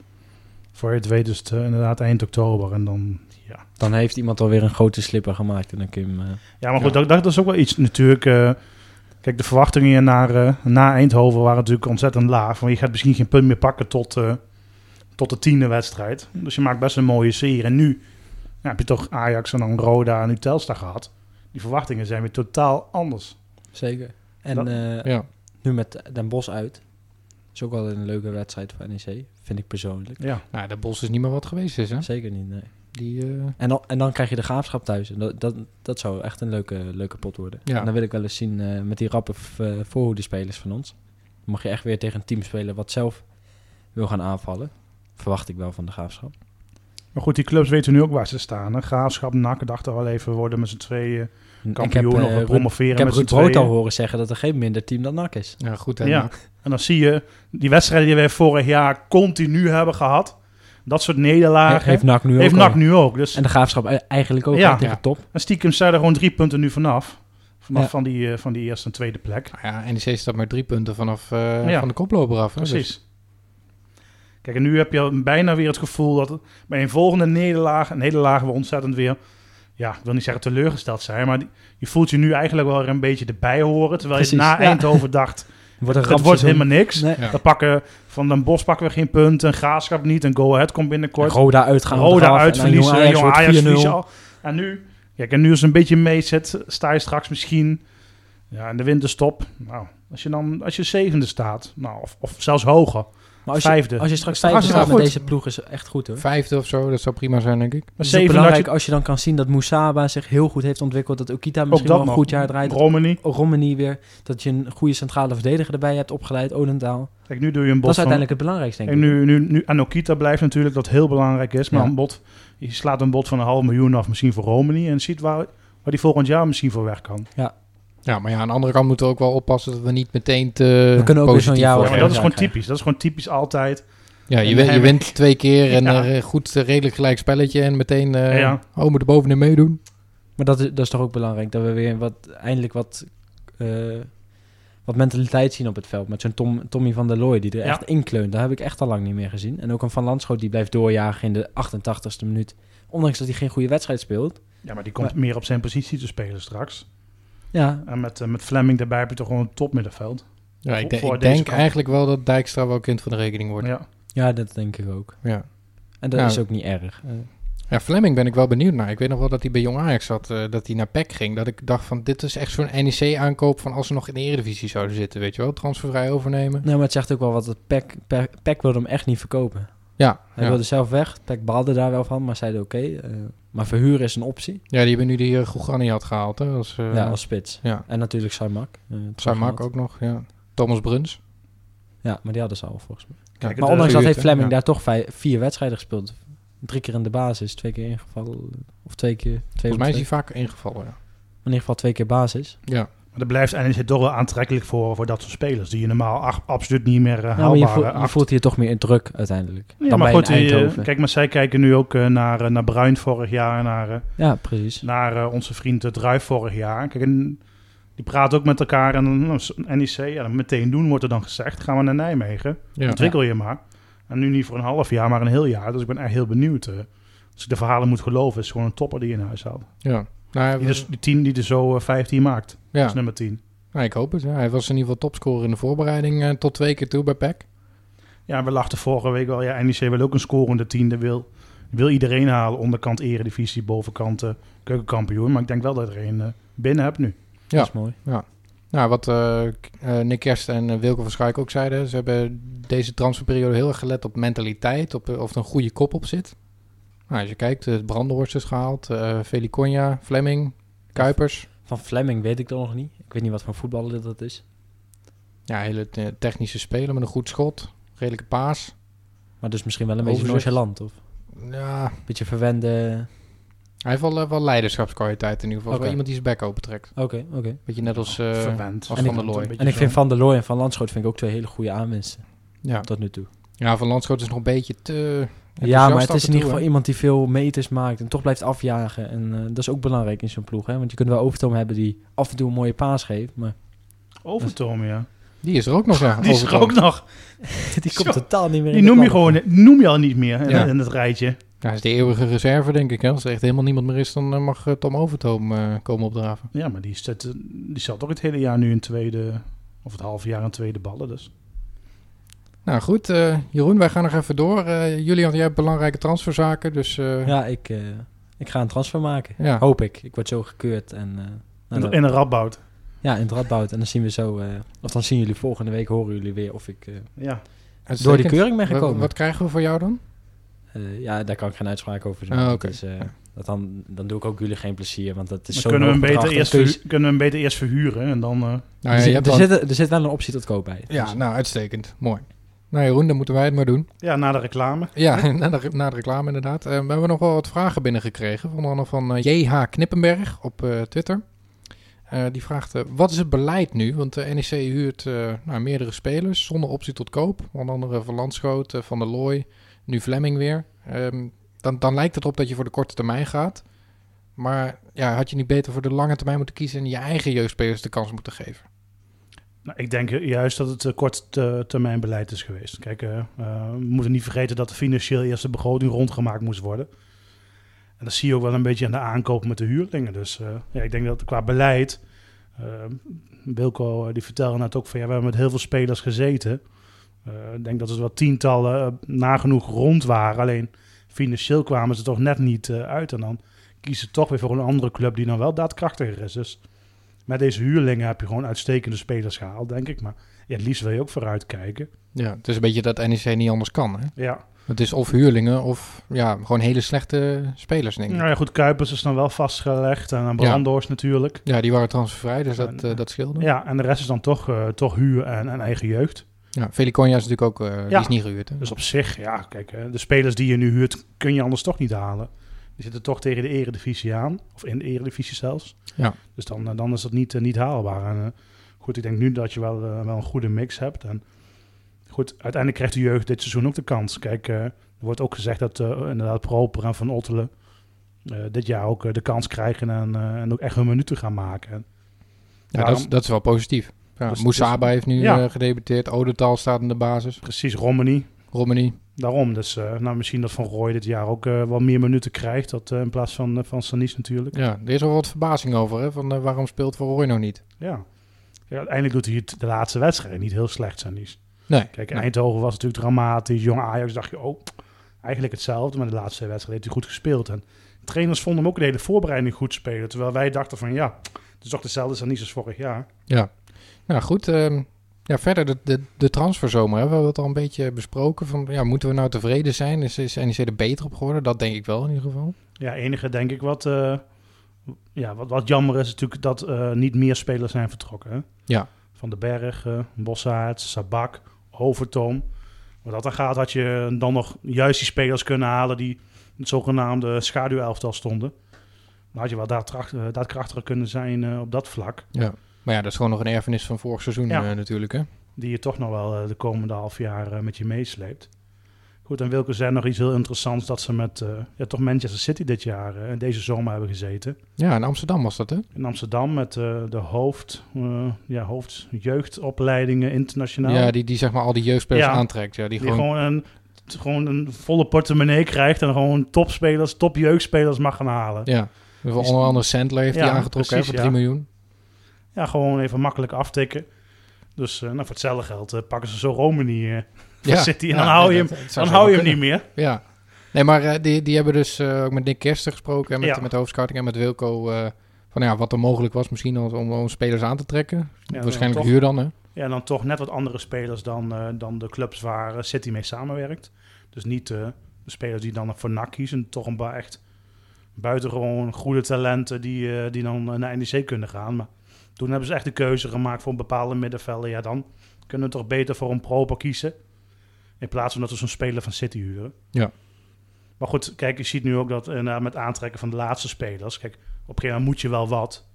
Voor je het weet is het eh, inderdaad eind oktober. En dan, ja. Dan heeft iemand alweer een grote slipper gemaakt. En dan kun je hem... eh, Ja, maar goed, Ja. Dat, dat is ook wel iets natuurlijk. eh, kijk, de verwachtingen naar, eh, na Eindhoven waren natuurlijk ontzettend laag. Want je gaat misschien geen punt meer pakken tot, eh, tot de tiende wedstrijd. Dus je maakt best een mooie serie. En nu ja, heb je toch Ajax en dan Roda en nu Telstar gehad. Die verwachtingen zijn weer totaal anders. Zeker. En Dat- eh, Ja. nu met Den Bos uit. Is ook wel een leuke wedstrijd voor NEC. Vind ik persoonlijk. Ja, Nou, de Bos is niet meer wat geweest is, hè? Zeker niet, nee. Die, eh, En dan, en dan krijg je de graafschap thuis. En dat, dat, dat zou echt een leuke, leuke pot worden. Ja. En dan wil ik wel eens zien eh, met die rappe voorhoede voorhoedespelers van ons. Dan mag je echt weer tegen een team spelen wat zelf wil gaan aanvallen. Verwacht ik wel van de graafschap. Maar goed, die clubs weten nu ook waar ze staan. Hè? Graafschap, NAC dachten wel even worden met z'n tweeën En kampioen eh, of we Ruud- promoveren ik heb met z'n Ruud Brood al tweeën. horen zeggen dat er geen minder team dan NAC is. ja, goed hè. Ja. En dan zie je die wedstrijden die wij vorig jaar continu hebben gehad. Dat soort nederlagen heeft NAC nu heeft ook NAC al. nu ook. Dus En de graafschap e- eigenlijk ook Ja. hè, tegen Ja. top. en stiekem zijn er gewoon drie punten nu vanaf. Vanaf Ja. van, die, eh, van die eerste en tweede plek. Nou ja, NEC staat maar drie punten vanaf eh, Ja. van de koploper af. Hè? Dus- Precies. Kijk, en nu heb je al bijna weer het gevoel dat het- bij een volgende nederlaag, een nederlaag we ontzettend weer, ja, ik wil niet zeggen teleurgesteld zijn, maar die- je voelt je nu eigenlijk wel weer een beetje erbij horen. Terwijl je Precies, na ja. Eindhoven *laughs* dacht, Wordt een het wordt helemaal niks. Nee. Dus, Ja. Dan pakken van Den Bos pakken we geen punt. Een Graafschap niet. Een Go Ahead komt binnenkort. En Roda uitgaan. op de Roda Graaf en uit dan verliezen. Jong Ajax Jong wordt Ajax 4-0. verliezen al. En nu, kijk, en nu is een beetje meezet. Sta je straks misschien ja, in de winterstop. Nou, als je dan als je zevende staat, nou, of, of zelfs hoger. Maar als je, Vijfde. als je straks Dat is vijfde staat hartstikke met goed. deze ploeg is echt goed hoor. Vijfde of zo, dat zou prima zijn, denk ik. Maar Het is ook zeven dat belangrijk je als je dan kan zien dat Moussaba zich heel goed heeft ontwikkeld. Dat Okita misschien dat wel een nog. goed jaar draait. Dat Romani. Romani weer. Dat je een goede centrale verdediger erbij hebt opgeleid. Odendaal. Kijk, nu doe je een Dat bot is van... uiteindelijk het belangrijkste denk En ik. nu, nu, nu Anokita blijft natuurlijk, dat heel belangrijk is. Maar Ja. een bot, je slaat een bot van een half miljoen af, misschien voor Romani. En ziet waar, waar die volgend jaar misschien voor weg kan. Ja, maar ja, aan de andere kant moeten we ook wel oppassen dat we niet meteen te We kunnen ook weer zo'n positief jaar Ja, worden. maar ja, dat is ja, gewoon ja. typisch. Dat is gewoon typisch altijd. Ja, je, En win- je hij- wint twee keer en Ja. eh, goed, eh, redelijk gelijk spelletje. En meteen, eh Ja. oh, we moeten bovenin meedoen. Maar dat is, dat is toch ook belangrijk. Dat we weer wat, eindelijk wat, eh, wat mentaliteit zien op het veld. Met zo'n Tom, Tommy van der Looy die er Ja. echt inkleunt. Dat heb ik echt al lang niet meer gezien. En ook een Van Landschoot die blijft doorjagen in de 88ste minuut. Ondanks dat hij geen goede wedstrijd speelt. Ja, maar die komt meer op zijn positie te spelen straks. Ja, En met, eh, met Fleming daarbij heb je toch gewoon een topmiddenveld. Ja, ik, de- Voor ik deze denk kant. eigenlijk wel dat Dijkstra wel kind van de rekening wordt. Ja. Ja. ja, dat denk ik ook. Ja. En dat Ja. is ook niet erg. Eh, Fleming ben ik wel benieuwd naar. Ik weet nog wel dat hij bij Jong Ajax zat, eh, dat hij naar PEC ging. Dat ik dacht van, dit is echt zo'n NEC-aankoop van als ze nog in de Eredivisie zouden zitten, weet je wel. Transfervrij overnemen. Nee, maar het zegt ook wel wat. dat Peck, Peck, Peck wilde hem echt niet verkopen. Ja, Hij ja. wilde zelf weg. Peck baalde daar wel van, maar zeiden oké. eh, maar verhuren is een optie. ja die hebben nu die uh, had gehaald, hè. Als, eh, ja, als spits. ja. En natuurlijk Saimak. eh, Saimak teruggehaald. ook nog, ja. Thomas Bruns. Ja, maar die hadden ze al volgens mij. Kijk, Maar het, ondanks eh, dat Gehuurd, heeft hè? Fleming Ja. daar toch vijf- vier wedstrijden gespeeld. Drie keer in de basis, twee keer ingevallen. Of twee keer. Twee Volgens of mij is twee. hij vaker ingevallen, ja. In ieder geval twee keer basis. Ja, Maar dat blijft NEC toch wel aantrekkelijk voor, voor dat soort spelers. Die je normaal ach- absoluut niet meer eh, Ja, maar haalbaar je, eh, voelt, je acht. voelt hier toch meer in druk uiteindelijk. Ja, dan maar bij goed, een die, eh, Eindhoven. kijk, maar zij kijken nu ook eh, naar, eh, naar Bruin vorig jaar en naar, eh, ja, precies. naar eh, onze vriend eh, Druif vorig jaar. Kijk, en die praten ook met elkaar en dan, nou, s- NEC, ja, dan meteen doen wordt er dan gezegd. Gaan we naar Nijmegen, ja. ontwikkel je maar. En nu niet voor een half jaar, maar een heel jaar. Dus ik ben echt heel benieuwd. eh. als ik de verhalen moet geloven, is het gewoon een topper die je in huis haalt. ja. Nou, hij Die, was- dus, die tien die er zo eh, 15 maakt. Dat ja. is nummer 10. Nou, ik hoop het. Ja. Hij was in ieder geval topscorer in de voorbereiding eh, tot twee keer toe bij PEC. Ja, we lachten vorige week wel. Ja, NEC wil ook een scorende tiende. Wil, wil iedereen halen. Onderkant eredivisie, bovenkant eh, keukenkampioen. Maar ik denk wel dat er een eh binnen hebt nu. Ja. Dat is mooi. Nou, wat eh, K- eh, Nick Kerst en eh, Wilco van Schaik ook zeiden, ze hebben deze transferperiode heel erg gelet op mentaliteit, op eh, of er een goede kop op zit. Nou, als je kijkt, eh, Brandenhorst is gehaald, eh Velikonja, Fleming, Kuipers. Van Fleming weet ik dat nog niet. Ik weet niet wat voor voetballer dat is. Ja, hele eh, technische speler met een goed schot, redelijke paas. Maar dus misschien wel een beetje Overzicht. nonchalant. Of Ja, een beetje verwende. hij heeft wel, eh, wel leiderschapskwaliteit in ieder geval. Oké. Wel iemand die zijn bek open trekt. Oké, oké. Weet je, net als... eh, Verwend. als En Van ik- der Looy. een beetje En ik zo. vind Van der Looy en Van Landschot vind ik ook twee hele goede aanwinsten. ja. Tot nu toe. ja, Van Landschot is nog een beetje te... Ja, maar enthousiast het af is en in toe, ieder hè? geval iemand die veel meters maakt en toch blijft afjagen. En eh, dat is ook belangrijk in zo'n ploeg. Hè? Want je kunt wel Overtoom hebben die af en toe een mooie paas geeft. Maar *laughs* Overtoom, ja. Die is er ook nog, ja. Die is er overal. ook nog. die Zo. komt totaal niet meer Die in de noem je plannen. gewoon noem je al niet meer in, Ja. in het rijtje. Ja, hij is de eeuwige reserve, denk ik. Hè? Als er echt helemaal niemand meer is, dan eh, mag eh, Tom Overtoom eh, komen opdraven. Ja, maar die, zit, eh, die zat ook het hele jaar nu in tweede... Of het halve jaar in tweede ballen, dus. Nou goed, eh, Jeroen, wij gaan nog even door. Eh, Julian, jij hebt belangrijke transferzaken, dus eh, ja. Ja, Oh, ik, eh, ik ga een transfer maken. Ja. Hoop ik. Ik word zo gekeurd. En, eh, nou, In, dat- in een radboud. ja, in het radboud. En dan zien we zo... eh, of dan zien jullie volgende week, horen jullie weer of ik eh, Ja. door die keuring ben Wat, gekomen. wat krijgen we voor jou dan? Eh, ja, daar kan ik geen uitspraak over doen. Ah, Dat oké. is, eh, dat dan, dan doe ik ook jullie geen plezier, want dat is Dan zo kunnen we, hem beter eerst verhu- kunnen we hem beter eerst verhuren. En dan... eh, Nou, er, ja, je zit, hebt Dus er, al- zit, er zit wel een optie tot koop bij. Dus- ja, nou, uitstekend. Mooi. Nou Jeroen, dan moeten wij het maar doen. ja, na de reclame. Ja, *laughs* na de, na de reclame inderdaad. Eh, we hebben nog wel wat vragen binnengekregen. Onder andere van eh, JH Knippenberg op eh, Twitter. Eh, die vraagt, eh, wat is het beleid nu? Want de NEC huurt eh, nou, meerdere spelers zonder optie tot koop. Onder andere Van Landschoot, eh, Van der Looy, nu Flemming weer. Ehm, dan, dan lijkt het op dat je voor de korte termijn gaat. Maar ja, had je niet beter voor de lange termijn moeten kiezen... en je eigen jeugdspelers de kans moeten geven? Nou, ik denk juist dat het eh, kort te- termijn beleid is geweest. Kijk, eh, eh, we moeten niet vergeten dat er financieel eerst de begroting rondgemaakt moest worden. En dat zie je ook wel een beetje aan de aankoop met de huurlingen. Dus eh, ja, ik denk dat qua beleid. eh, Wilco eh, die vertelde net ook van ja, we hebben met heel veel spelers gezeten. Eh, ik denk dat er wel tientallen eh, nagenoeg rond waren. Alleen financieel kwamen ze toch net niet eh, uit. En dan kiezen ze toch weer voor een andere club die dan wel daadkrachtiger is. Dus met deze huurlingen heb je gewoon uitstekende spelers gehaald, denk ik. Maar ja, het liefst wil je ook vooruitkijken. Ja, het is een beetje dat NEC niet anders kan. Hè? Ja. Het is of huurlingen of ja, gewoon hele slechte spelers, denk ik. Nou ja, goed, Kuipers is dan wel vastgelegd en dan Brandhorst natuurlijk. Ja, die waren transfervrij, dus dat, En, eh, dat scheelde. Ja, en de rest is dan toch, eh, toch huur en, en eigen jeugd. Ja, Velikonja is natuurlijk ook, eh, die Ja. is niet gehuurd. Hè? Dus op zich, ja, kijk, hè, de spelers die je nu huurt, kun je anders toch niet halen. Die zitten toch tegen de eredivisie aan, of in de eredivisie zelfs. Ja. Dus dan, eh, dan is dat niet, eh, niet haalbaar. En, eh, goed, ik denk nu dat je wel, eh, wel een goede mix hebt. En goed, uiteindelijk krijgt de jeugd dit seizoen ook de kans. Kijk, eh, er wordt ook gezegd dat eh, inderdaad Proper en Van Ottelen eh, dit jaar ook eh, de kans krijgen en, eh, en ook echt hun minuten gaan maken. En ja, dat, is, dat is wel positief. Ja, Dus- Moussaba heeft nu Ja. eh, gedebuteerd. Odetal staat in de basis. precies Romani. Romani. Daarom, dus eh, nou, misschien dat Van Rooij dit jaar ook eh wat meer minuten krijgt dat, eh, in plaats van, eh, van Sanis natuurlijk. Ja, er is wel wat verbazing over. Hè? Van, eh, waarom speelt Van Rooij nou niet? Ja. ja. Uiteindelijk doet hij het de laatste wedstrijd niet heel slecht, Sanis. Nee. Kijk, nee. Eindhoven was natuurlijk dramatisch. Jong Ajax dacht je, oh, eigenlijk hetzelfde. Maar de laatste wedstrijd heeft hij goed gespeeld. En de trainers vonden hem ook de hele voorbereiding goed spelen. Terwijl wij dachten van, ja, het is toch dezelfde Sanis als vorig jaar. Ja. Nou goed, ehm, ja, verder de, de, de transferzomer. Hè? We hebben het al een beetje besproken. Van, ja, moeten we nou tevreden zijn? Is, is NEC er beter op geworden? Dat denk ik wel in ieder geval. Ja, enige denk ik wat, eh, ja, wat, wat jammer is natuurlijk dat eh, niet meer spelers zijn vertrokken. Hè? Ja. Van den Berg, eh Bossaert, Sabak, Overtoom. Wat dat dan gaat, had je dan nog juist die spelers kunnen halen die in het zogenaamde schaduwelftal stonden. Dan had je wel daadkracht- eh, daadkrachtiger kunnen zijn eh, op dat vlak. Ja. Maar ja, dat is gewoon nog een erfenis van vorig seizoen Ja. eh, natuurlijk. Hè? Die je toch nog wel eh, de komende half jaar eh, met je meesleept. Goed, en Wilke zei nog iets heel interessants dat ze met eh, ja, toch Manchester City dit jaar eh, en deze zomer hebben gezeten. Ja, in Amsterdam was dat hè? in Amsterdam met eh, de hoofd, eh, ja, hoofdjeugdopleidingen internationaal. Ja, die, die zeg maar al die jeugdspelers Nou? Ja. aantrekt. Ja, die, die gewoon, gewoon, een, t- gewoon een volle portemonnee krijgt en gewoon topspelers, topjeugdspelers mag gaan halen. Ja. Ja. Dus onder andere Sandler heeft Ja, die aangetrokken hè, precies, voor 3 ja. *laughs* miljoen. gewoon even makkelijk aftikken. Dus eh, nou, voor hetzelfde geld eh, pakken ze zo Romani. eh, Ja. City, en Ja, dan hou je dat- hem- dat zou dan zo hou je hem kunnen. niet meer. Ja. Nee, maar eh, die, die hebben dus eh, ook met Nick Kersten gesproken. En met, Ja. met de hoofdscouting en met Wilco. eh, van ja, wat er mogelijk was misschien om, om, om spelers aan te trekken. Ja, Waarschijnlijk dan toch, huur dan, hè? ja, dan toch net wat andere spelers dan, eh, dan de clubs waar eh, City mee samenwerkt. Dus niet eh, de spelers die dan voor NAC kiezen. Toch een paar echt buitengewoon goede talenten die, eh, die dan eh, naar NEC kunnen gaan. Maar toen hebben ze echt de keuze gemaakt voor een bepaalde middenvelder. Ja, dan kunnen we toch beter voor een proper kiezen. In plaats van dat we zo'n speler van City huren. Ja. Maar goed, kijk, je ziet nu ook dat eh, met aantrekken van de laatste spelers. Kijk, op een gegeven moment moet je wel wat.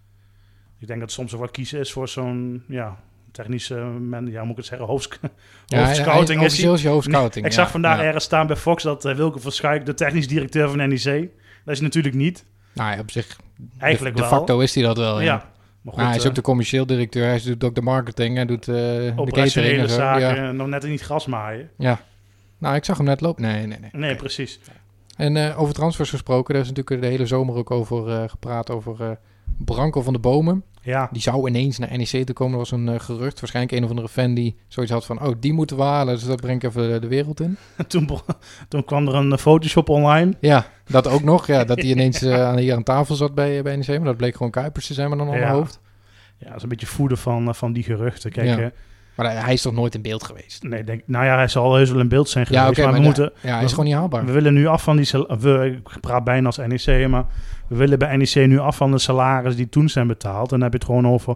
Ik denk dat soms ook wat kiezen is voor zo'n ja, technische, men, ja, hoe moet ik het zeggen, hoofd, hij- hoofdscouting. is hij. officieel is je hoofdscouting. *laughs* Ik ja. zag vandaag Ja. ergens staan bij Fox dat eh, Wilke Verschuik de technisch directeur van NEC. Dat is hij natuurlijk niet. Nou ja, op zich. Eigenlijk de, de wel. facto is hij dat wel, ja. ja. Maar goed, Maar hij is eh, ook de commercieel directeur. Hij doet ook de marketing. Hij doet eh, de catering operationele en zo. zaken, Ja. eh, nog net niet gras maaien. Nou, ik zag hem net lopen. Nee, nee, nee. Nee, precies. En eh, over transfers gesproken, daar is natuurlijk de hele zomer ook over eh, gepraat. Over eh, Branko van de Bomen. Ja, *laughs* Die zou ineens naar NEC te komen. Er was een eh, gerucht. Waarschijnlijk een of andere fan die zoiets had van... Oh, die moeten we halen. Dus dat breng ik even de, de wereld in. toen, be- toen kwam er een eh, Photoshop online. Ja, dat ook nog. Ja, dat die ineens eh, aan- hier aan tafel zat bij, eh, bij NEC. Maar dat bleek gewoon Kuipers te zijn met een ander Ja. hoofd. Ja, dat is een beetje voeden van, eh, van die geruchten. Kijk, Ja. eh, Maar hij- hij is toch nooit in beeld geweest? nee, ik denk, nou ja, hij zal heus wel in beeld zijn geweest. Ja, oké. maar we, maar moeten, ja, hij is gewoon niet haalbaar. we willen nu af van die... sal- We, ik praat bijna als NEC, maar we willen bij NEC nu af van de salaris die toen zijn betaald. En dan heb je het gewoon over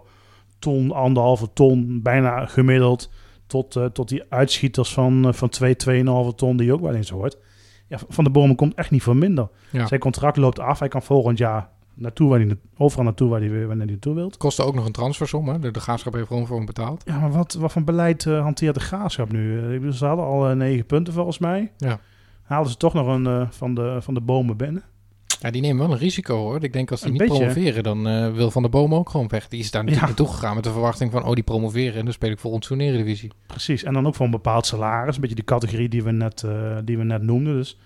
ton, anderhalve ton, bijna gemiddeld. Tot, eh, tot die uitschieters van, eh, van 2, 2,5 ton die je ook wel eens hoort. Ja, van de Bomen komt echt niet voor minder. Ja. Zijn contract loopt af. Hij kan volgend jaar naartoe waar hij, na- overal naartoe waar hij, wanneer hij naartoe wilt. Het kostte ook nog een transfersom. Hè? De, de graafschap heeft gewoon voor hem betaald. Ja, maar wat, wat voor beleid eh, hanteert de graafschap nu? Eh, ik bedoel, ze hadden al eh, negen punten volgens mij. Ja. Haalden ze toch nog een eh, van, de, van de bomen binnen? Ja, die nemen wel een risico hoor. Ik denk als die Een niet beetje. promoveren, dan eh, wil Van de Bomen ook gewoon weg. Die is daar natuurlijk Ja. naartoe gegaan met de verwachting van... Oh, die promoveren en dan speel ik voor ons toen Eredivisie. Precies. En dan ook voor een bepaald salaris. Een beetje de categorie die we net, eh, die we net noemden. Dus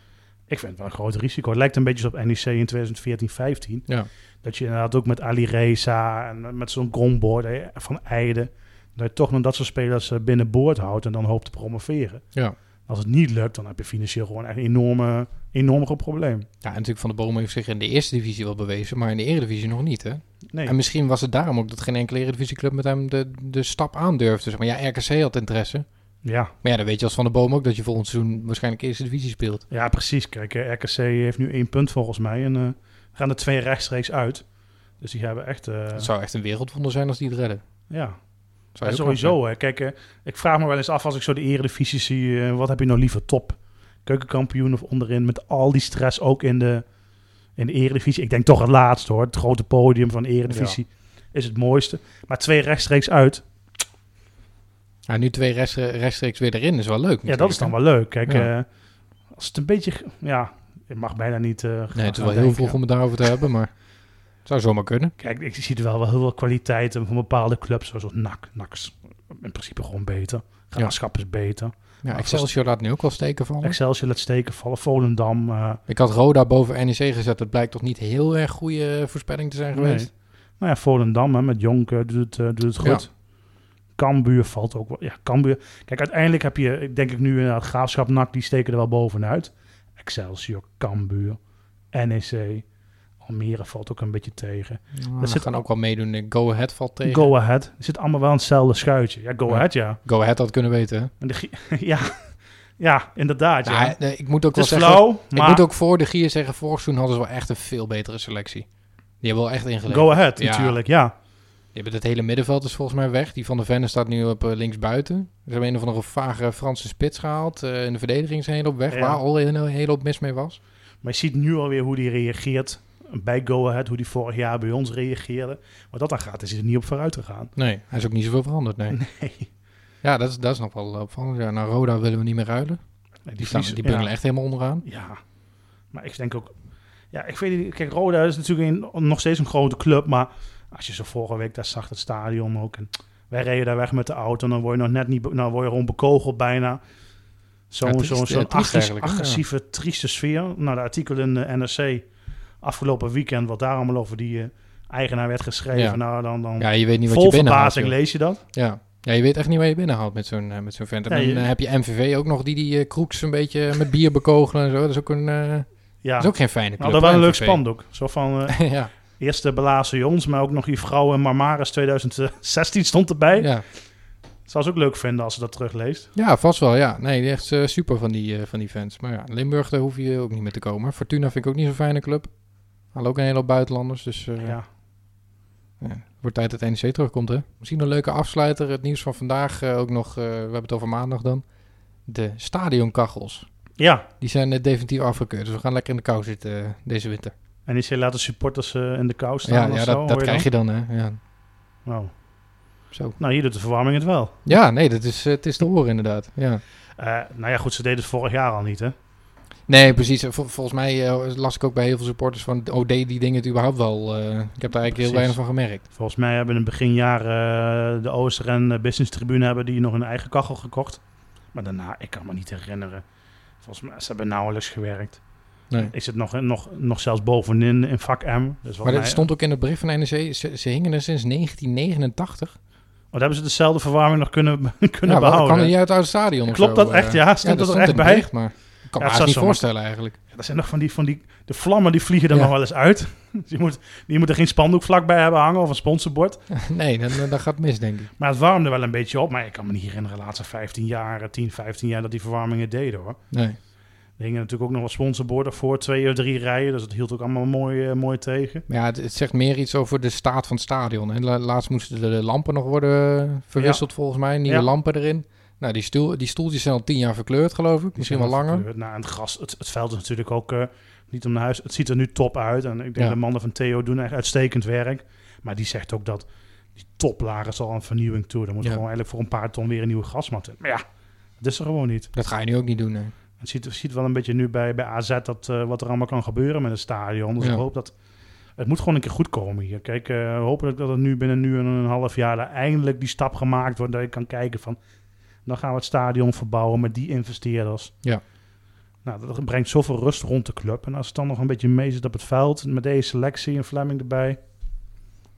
ik vind het wel een groot risico. Het lijkt een beetje op NEC in 2014 15 Ja. Dat je inderdaad ook met Ali Reza en eh, met zo'n gromboard van Eide... dat je toch nog dat soort spelers eh, binnenboord houdt en dan hoopt te promoveren. Ja. Als het niet lukt, dan heb je financieel gewoon echt een enorme, enorm groot probleem. Ja, en natuurlijk Van de Bomen heeft zich in de eerste divisie wel bewezen, maar in de eredivisie nog niet, hè? Nee. En misschien was het daarom ook dat geen enkele Eredivisieclub met hem de, de stap aandurfde. Zeg maar ja, RKC had interesse. Ja. Maar ja, dan weet je als Van de Boom ook dat je volgend seizoen waarschijnlijk Eerste Divisie speelt. ja, precies. Kijk, eh, RKC heeft nu één punt volgens mij. En eh, gaan er twee rechtstreeks uit. Dus die hebben echt... eh, Het zou echt een wereldwonder zijn als die het redden. ja, Zou Ja, heel knap sowieso. Hè. Kijk, eh, ik vraag me wel eens af als ik zo de eredivisie zie. eh, wat heb je nou liever top? Keukenkampioen of onderin? Met al die stress ook in de, in de eredivisie. Ik denk toch het laatste hoor. Het grote podium van de eredivisie is het mooiste. Maar twee rechtstreeks uit. zijn. Ja, nu twee rest- rechtstreeks weer erin is wel leuk. Ja, dat is dan wel leuk. Kijk, Ja. eh, als het een beetje... g- Ja, het mag bijna niet... eh, gaan- Nee, het is gaan wel heel denken. vroeg om het daarover te hebben, maar het zou zomaar kunnen. Kijk, ik zie er wel, wel heel veel kwaliteiten van bepaalde clubs. Zoals NAC. NAC is in principe gewoon beter. Graafschap is beter. Ja, Maar Excelsior laat nu ook wel steken vallen. Excelsior laat steken vallen. Volendam... eh, Ik had Roda boven NEC gezet. Dat blijkt toch niet heel erg goede voorspelling te zijn Nee. geweest. Nou ja, Volendam hè, met Jonk eh, doet, het, eh, doet het goed. Kambuur valt ook wel. Ja, Kambuur. Kijk, uiteindelijk heb je, ik denk ik nu inderdaad, Graafschap, NAC, die steken er wel bovenuit. Excelsior, Kambuur, NEC, Almere valt ook een beetje tegen. dat zit- zit dan ook wel meedoen. Go Ahead valt tegen. Go, Go Ahead, er zit allemaal wel in hetzelfde schuitje. Ja, Go Ja. Ahead, ja. Ahead had kunnen weten. hè? En de, Gie- *laughs* ja, ja, inderdaad, ja. Nou, nee, ik moet ook het wel is zeggen... flauw, Ik maar moet ook voor de Gier zeggen, vorig seizoen hadden ze wel echt een veel betere selectie. Die hebben wel echt ingeleverd. Go Ahead Ja. natuurlijk, ja. Die hebben het hele middenveld is volgens mij weg. Die van de Venne staat nu op eh, linksbuiten. Ze hebben een of andere vage Franse spits gehaald. Eh, in de verdediging is een hele hoop weg, Ja. waar al een hele hoop mis mee was. Maar je ziet nu alweer hoe die reageert bij Go Ahead, hoe die vorig jaar bij ons reageerde. Wat dat dan gaat, is hij er niet op vooruit te gaan. Nee, hij is ook niet zoveel veranderd, nee. *laughs* Nee. Ja, dat is, dat is nog wel eh, opvallend. Ja, nou, Roda willen we niet meer ruilen. Nee, Die, staan, Fries- die ja. bungelen echt helemaal onderaan. Ja, maar ik denk ook... Ja, ik weet niet... Kijk, Roda is natuurlijk een- nog steeds een grote club, maar als je zo vorige week daar zag, het stadion ook. En wij reden daar weg met de auto en dan word je nog net niet... be- Nou word je gewoon bekogeld bijna. Zo'n Ja, zo'n triest, zo'n eh, triest agres- eigenlijk, hè? agressieve, trieste sfeer. Nou, de artikel in de NRC afgelopen weekend, wat daar allemaal over die eh, eigenaar werd geschreven. Ja. Nou, dan... dan Ja, je weet niet wat vol je binnenhaalt. verbazing joh. lees je dat. Ja. ja, je weet echt niet waar je binnenhaalt met zo'n eh, met zo'n vent. En Ja, dan je- eh, heb je MVV ook nog die die eh, kroeks een beetje met bier bekogelen en zo. Dat is ook, een, eh, Ja, dat is ook geen fijne club. nou, dat was hè, een leuk MVV. spandoek. Zo van... eh, *laughs* *laughs* ja, Eerste belazen jons, maar ook nog die vrouwen Marmaris 2016 stond erbij. ja. Zou ze ook leuk vinden als ze dat terugleest. ja, vast wel. Ja. Nee, echt eh, super van die, eh, van die fans. Maar ja, Limburg, daar hoef je ook niet mee te komen. Fortuna vind ik ook niet zo'n fijne club. Halen ook een hele hoop buitenlanders. Dus eh, Ja. Wordt tijd dat NEC terugkomt, hè? Misschien een leuke afsluiter. Het nieuws van vandaag eh, ook nog. eh, we hebben het over maandag dan. De stadionkachels. ja. Die zijn eh, definitief afgekeurd. Dus we gaan lekker in de kou zitten eh, deze winter. En is je laten supporters eh, in de kou Ja, staan of ja zo? dat, dat hoor krijg je dan? dan, hè? Ja, Oh. zo. Nou, hier doet de verwarming het wel. ja nee, dat is, eh, het is te horen inderdaad. Ja. Eh, nou ja, goed, ze deden het vorig jaar al niet, hè? Nee, precies. Eh, vol- volgens mij eh, las ik ook bij heel veel supporters van... Oh, deed die dingen het überhaupt wel? eh, ik heb daar eigenlijk Precies. heel weinig van gemerkt. Volgens mij hebben in het beginjaar eh, de Ooster en eh, Business Tribune hebben die nog een eigen kachel gekocht. Maar daarna, ik kan me niet herinneren. Volgens mij, ze hebben nauwelijks gewerkt. Nee. Is het nog, nog, nog zelfs bovenin in vak M? Dus Maar dat stond ook in het bericht van NEC. Ze, ze hingen er sinds 1989. Oh, daar hebben ze dezelfde verwarming nog kunnen, *laughs* kunnen ja, wel, behouden. kan er niet uit het oude stadion of Klopt zo, dat eh. echt? Ja, stond dat er echt in het bij? bericht, maar ik kan Ja, me het haast niet zou voorstellen eigenlijk. *laughs* Ja, dat zijn nog van die, van die... De vlammen die vliegen er Ja. nog wel eens uit. *laughs* Dus je, moet, je moet er geen spandoek vlakbij hebben hangen of een sponsorbord. Nee, dan, dan gaat het mis, denk ik. Maar het warmde wel een beetje op. Maar ik kan me niet herinneren de laatste 15 jaar, eh, 10, 15 jaar... dat die verwarmingen deden, hoor. Nee. Er hingen natuurlijk ook nog wat sponsorborden voor. Twee of drie rijen. Dus dat hield ook allemaal mooi, eh, mooi tegen. Maar ja, het, het zegt meer iets over de staat van het stadion. Hè. La- Laatst moesten de, de lampen nog worden verwisseld, volgens mij. Nieuwe Ja. lampen erin. Nou, die, stoel, die stoeltjes zijn al tien jaar verkleurd, geloof ik. Misschien wel langer. Nou, en het gras, het, het veld is natuurlijk ook eh, niet om naar huis. Het ziet er nu top uit. En ik denk Ja. de mannen van Theo doen echt uitstekend werk. Maar die zegt ook dat die toplagen zal aan vernieuwing toe. Dan moet Ja. gewoon eigenlijk voor een paar ton weer een nieuwe grasmat in. Maar ja, dat is er gewoon niet. Dat ga je nu ook niet doen, nee. Je ziet, je ziet wel een beetje nu bij, bij AZ dat, eh, wat er allemaal kan gebeuren met een stadion. Dus Ja. ik hoop dat... Het moet gewoon een keer goed komen hier. Kijk, eh, hopelijk dat het nu binnen nu en een half jaar... daar eindelijk die stap gemaakt wordt dat je kan kijken van... dan gaan we het stadion verbouwen met die investeerders. Ja. Nou, dat brengt zoveel rust rond de club. En als het dan nog een beetje mee zit op het veld... met deze selectie en Fleming erbij...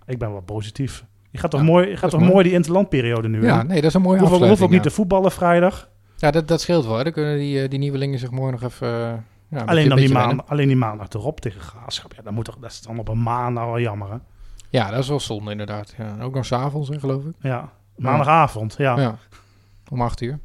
Ik ben wel positief. Je gaat toch, Ja, mooi, je gaat is toch mooi. mooi die interlandperiode nu Ja, in? nee, dat is een mooie Hoef ook, hoef ook afsluiting. niet ja. te voetballen vrijdag. Ja, dat, dat scheelt wel. hè. Dan kunnen die, eh, die nieuwelingen zich mooi nog even... eh, ja, een beetje- Alleen, dan beetje die wennen. maand, alleen die maandag erop tegen Graafschap. Ja, dan moet toch, dat is dan op een maandag wel jammer, hè? Ja, Ja, dat is wel zonde inderdaad. Ja, en ook nog s'avonds, hè, geloof ik. Ja, maandagavond. Ja. Ja. Om acht uur.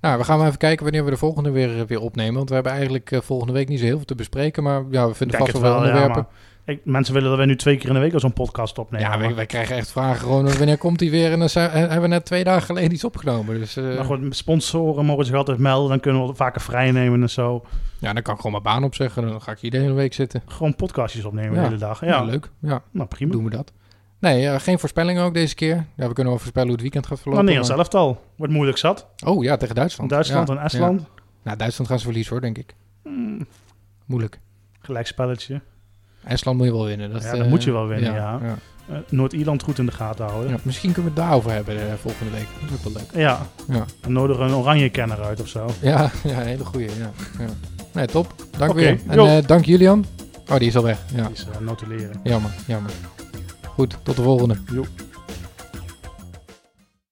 Nou, we gaan maar even kijken wanneer we de volgende weer, weer opnemen. Want we hebben eigenlijk eh, volgende week niet zo heel veel te bespreken. Maar ja, we Ik vinden denk vast wel wel ja, onderwerpen. maar ik- mensen willen dat wij nu twee keer in de week al zo'n podcast Ja, opnemen. wij, maar, wij krijgen echt vragen gewoon wanneer komt die weer. En dan zijn- he- hebben we net twee dagen geleden iets opgenomen. Dus eh, maar goed, sponsoren mogen zich altijd melden. Dan kunnen we het vaker vrijnemen en zo. ja, dan kan ik gewoon mijn baan opzeggen. Dan ga ik hier de hele week zitten. Gewoon podcastjes opnemen Ja. de hele dag. Ja, Ja, leuk. Ja, Nou, prima. doen we dat. Nee, eh, geen voorspellingen ook deze keer. Ja, we kunnen wel voorspellen hoe het weekend gaat Nou, verlopen. Nederlands maar- elftal. Wordt moeilijk zat. Oh ja, tegen Duitsland. Duitsland Ja, en ja. Estland. Nou, Duitsland gaan ze verliezen hoor, denk ik. Mm, Moeilijk. gelijkspelletje. IJsland moet je wel winnen. Dat, Ja, dat eh, moet je wel winnen, ja. ja. Eh, Noord-Ierland goed in de gaten houden. Ja, misschien kunnen we het daarover hebben eh, volgende week. Dat is ook wel leuk. Ja. Ja. Dan nodig een oranje kenner uit of zo. Ja, ja een hele goeie. Ja. Ja. Nee, top. Dank Oké, weer. En joh. eh, dank Julian. Oh, die is al weg. Ja, Die is eh, notuleren. jammer, jammer. Goed, tot de volgende. Jo.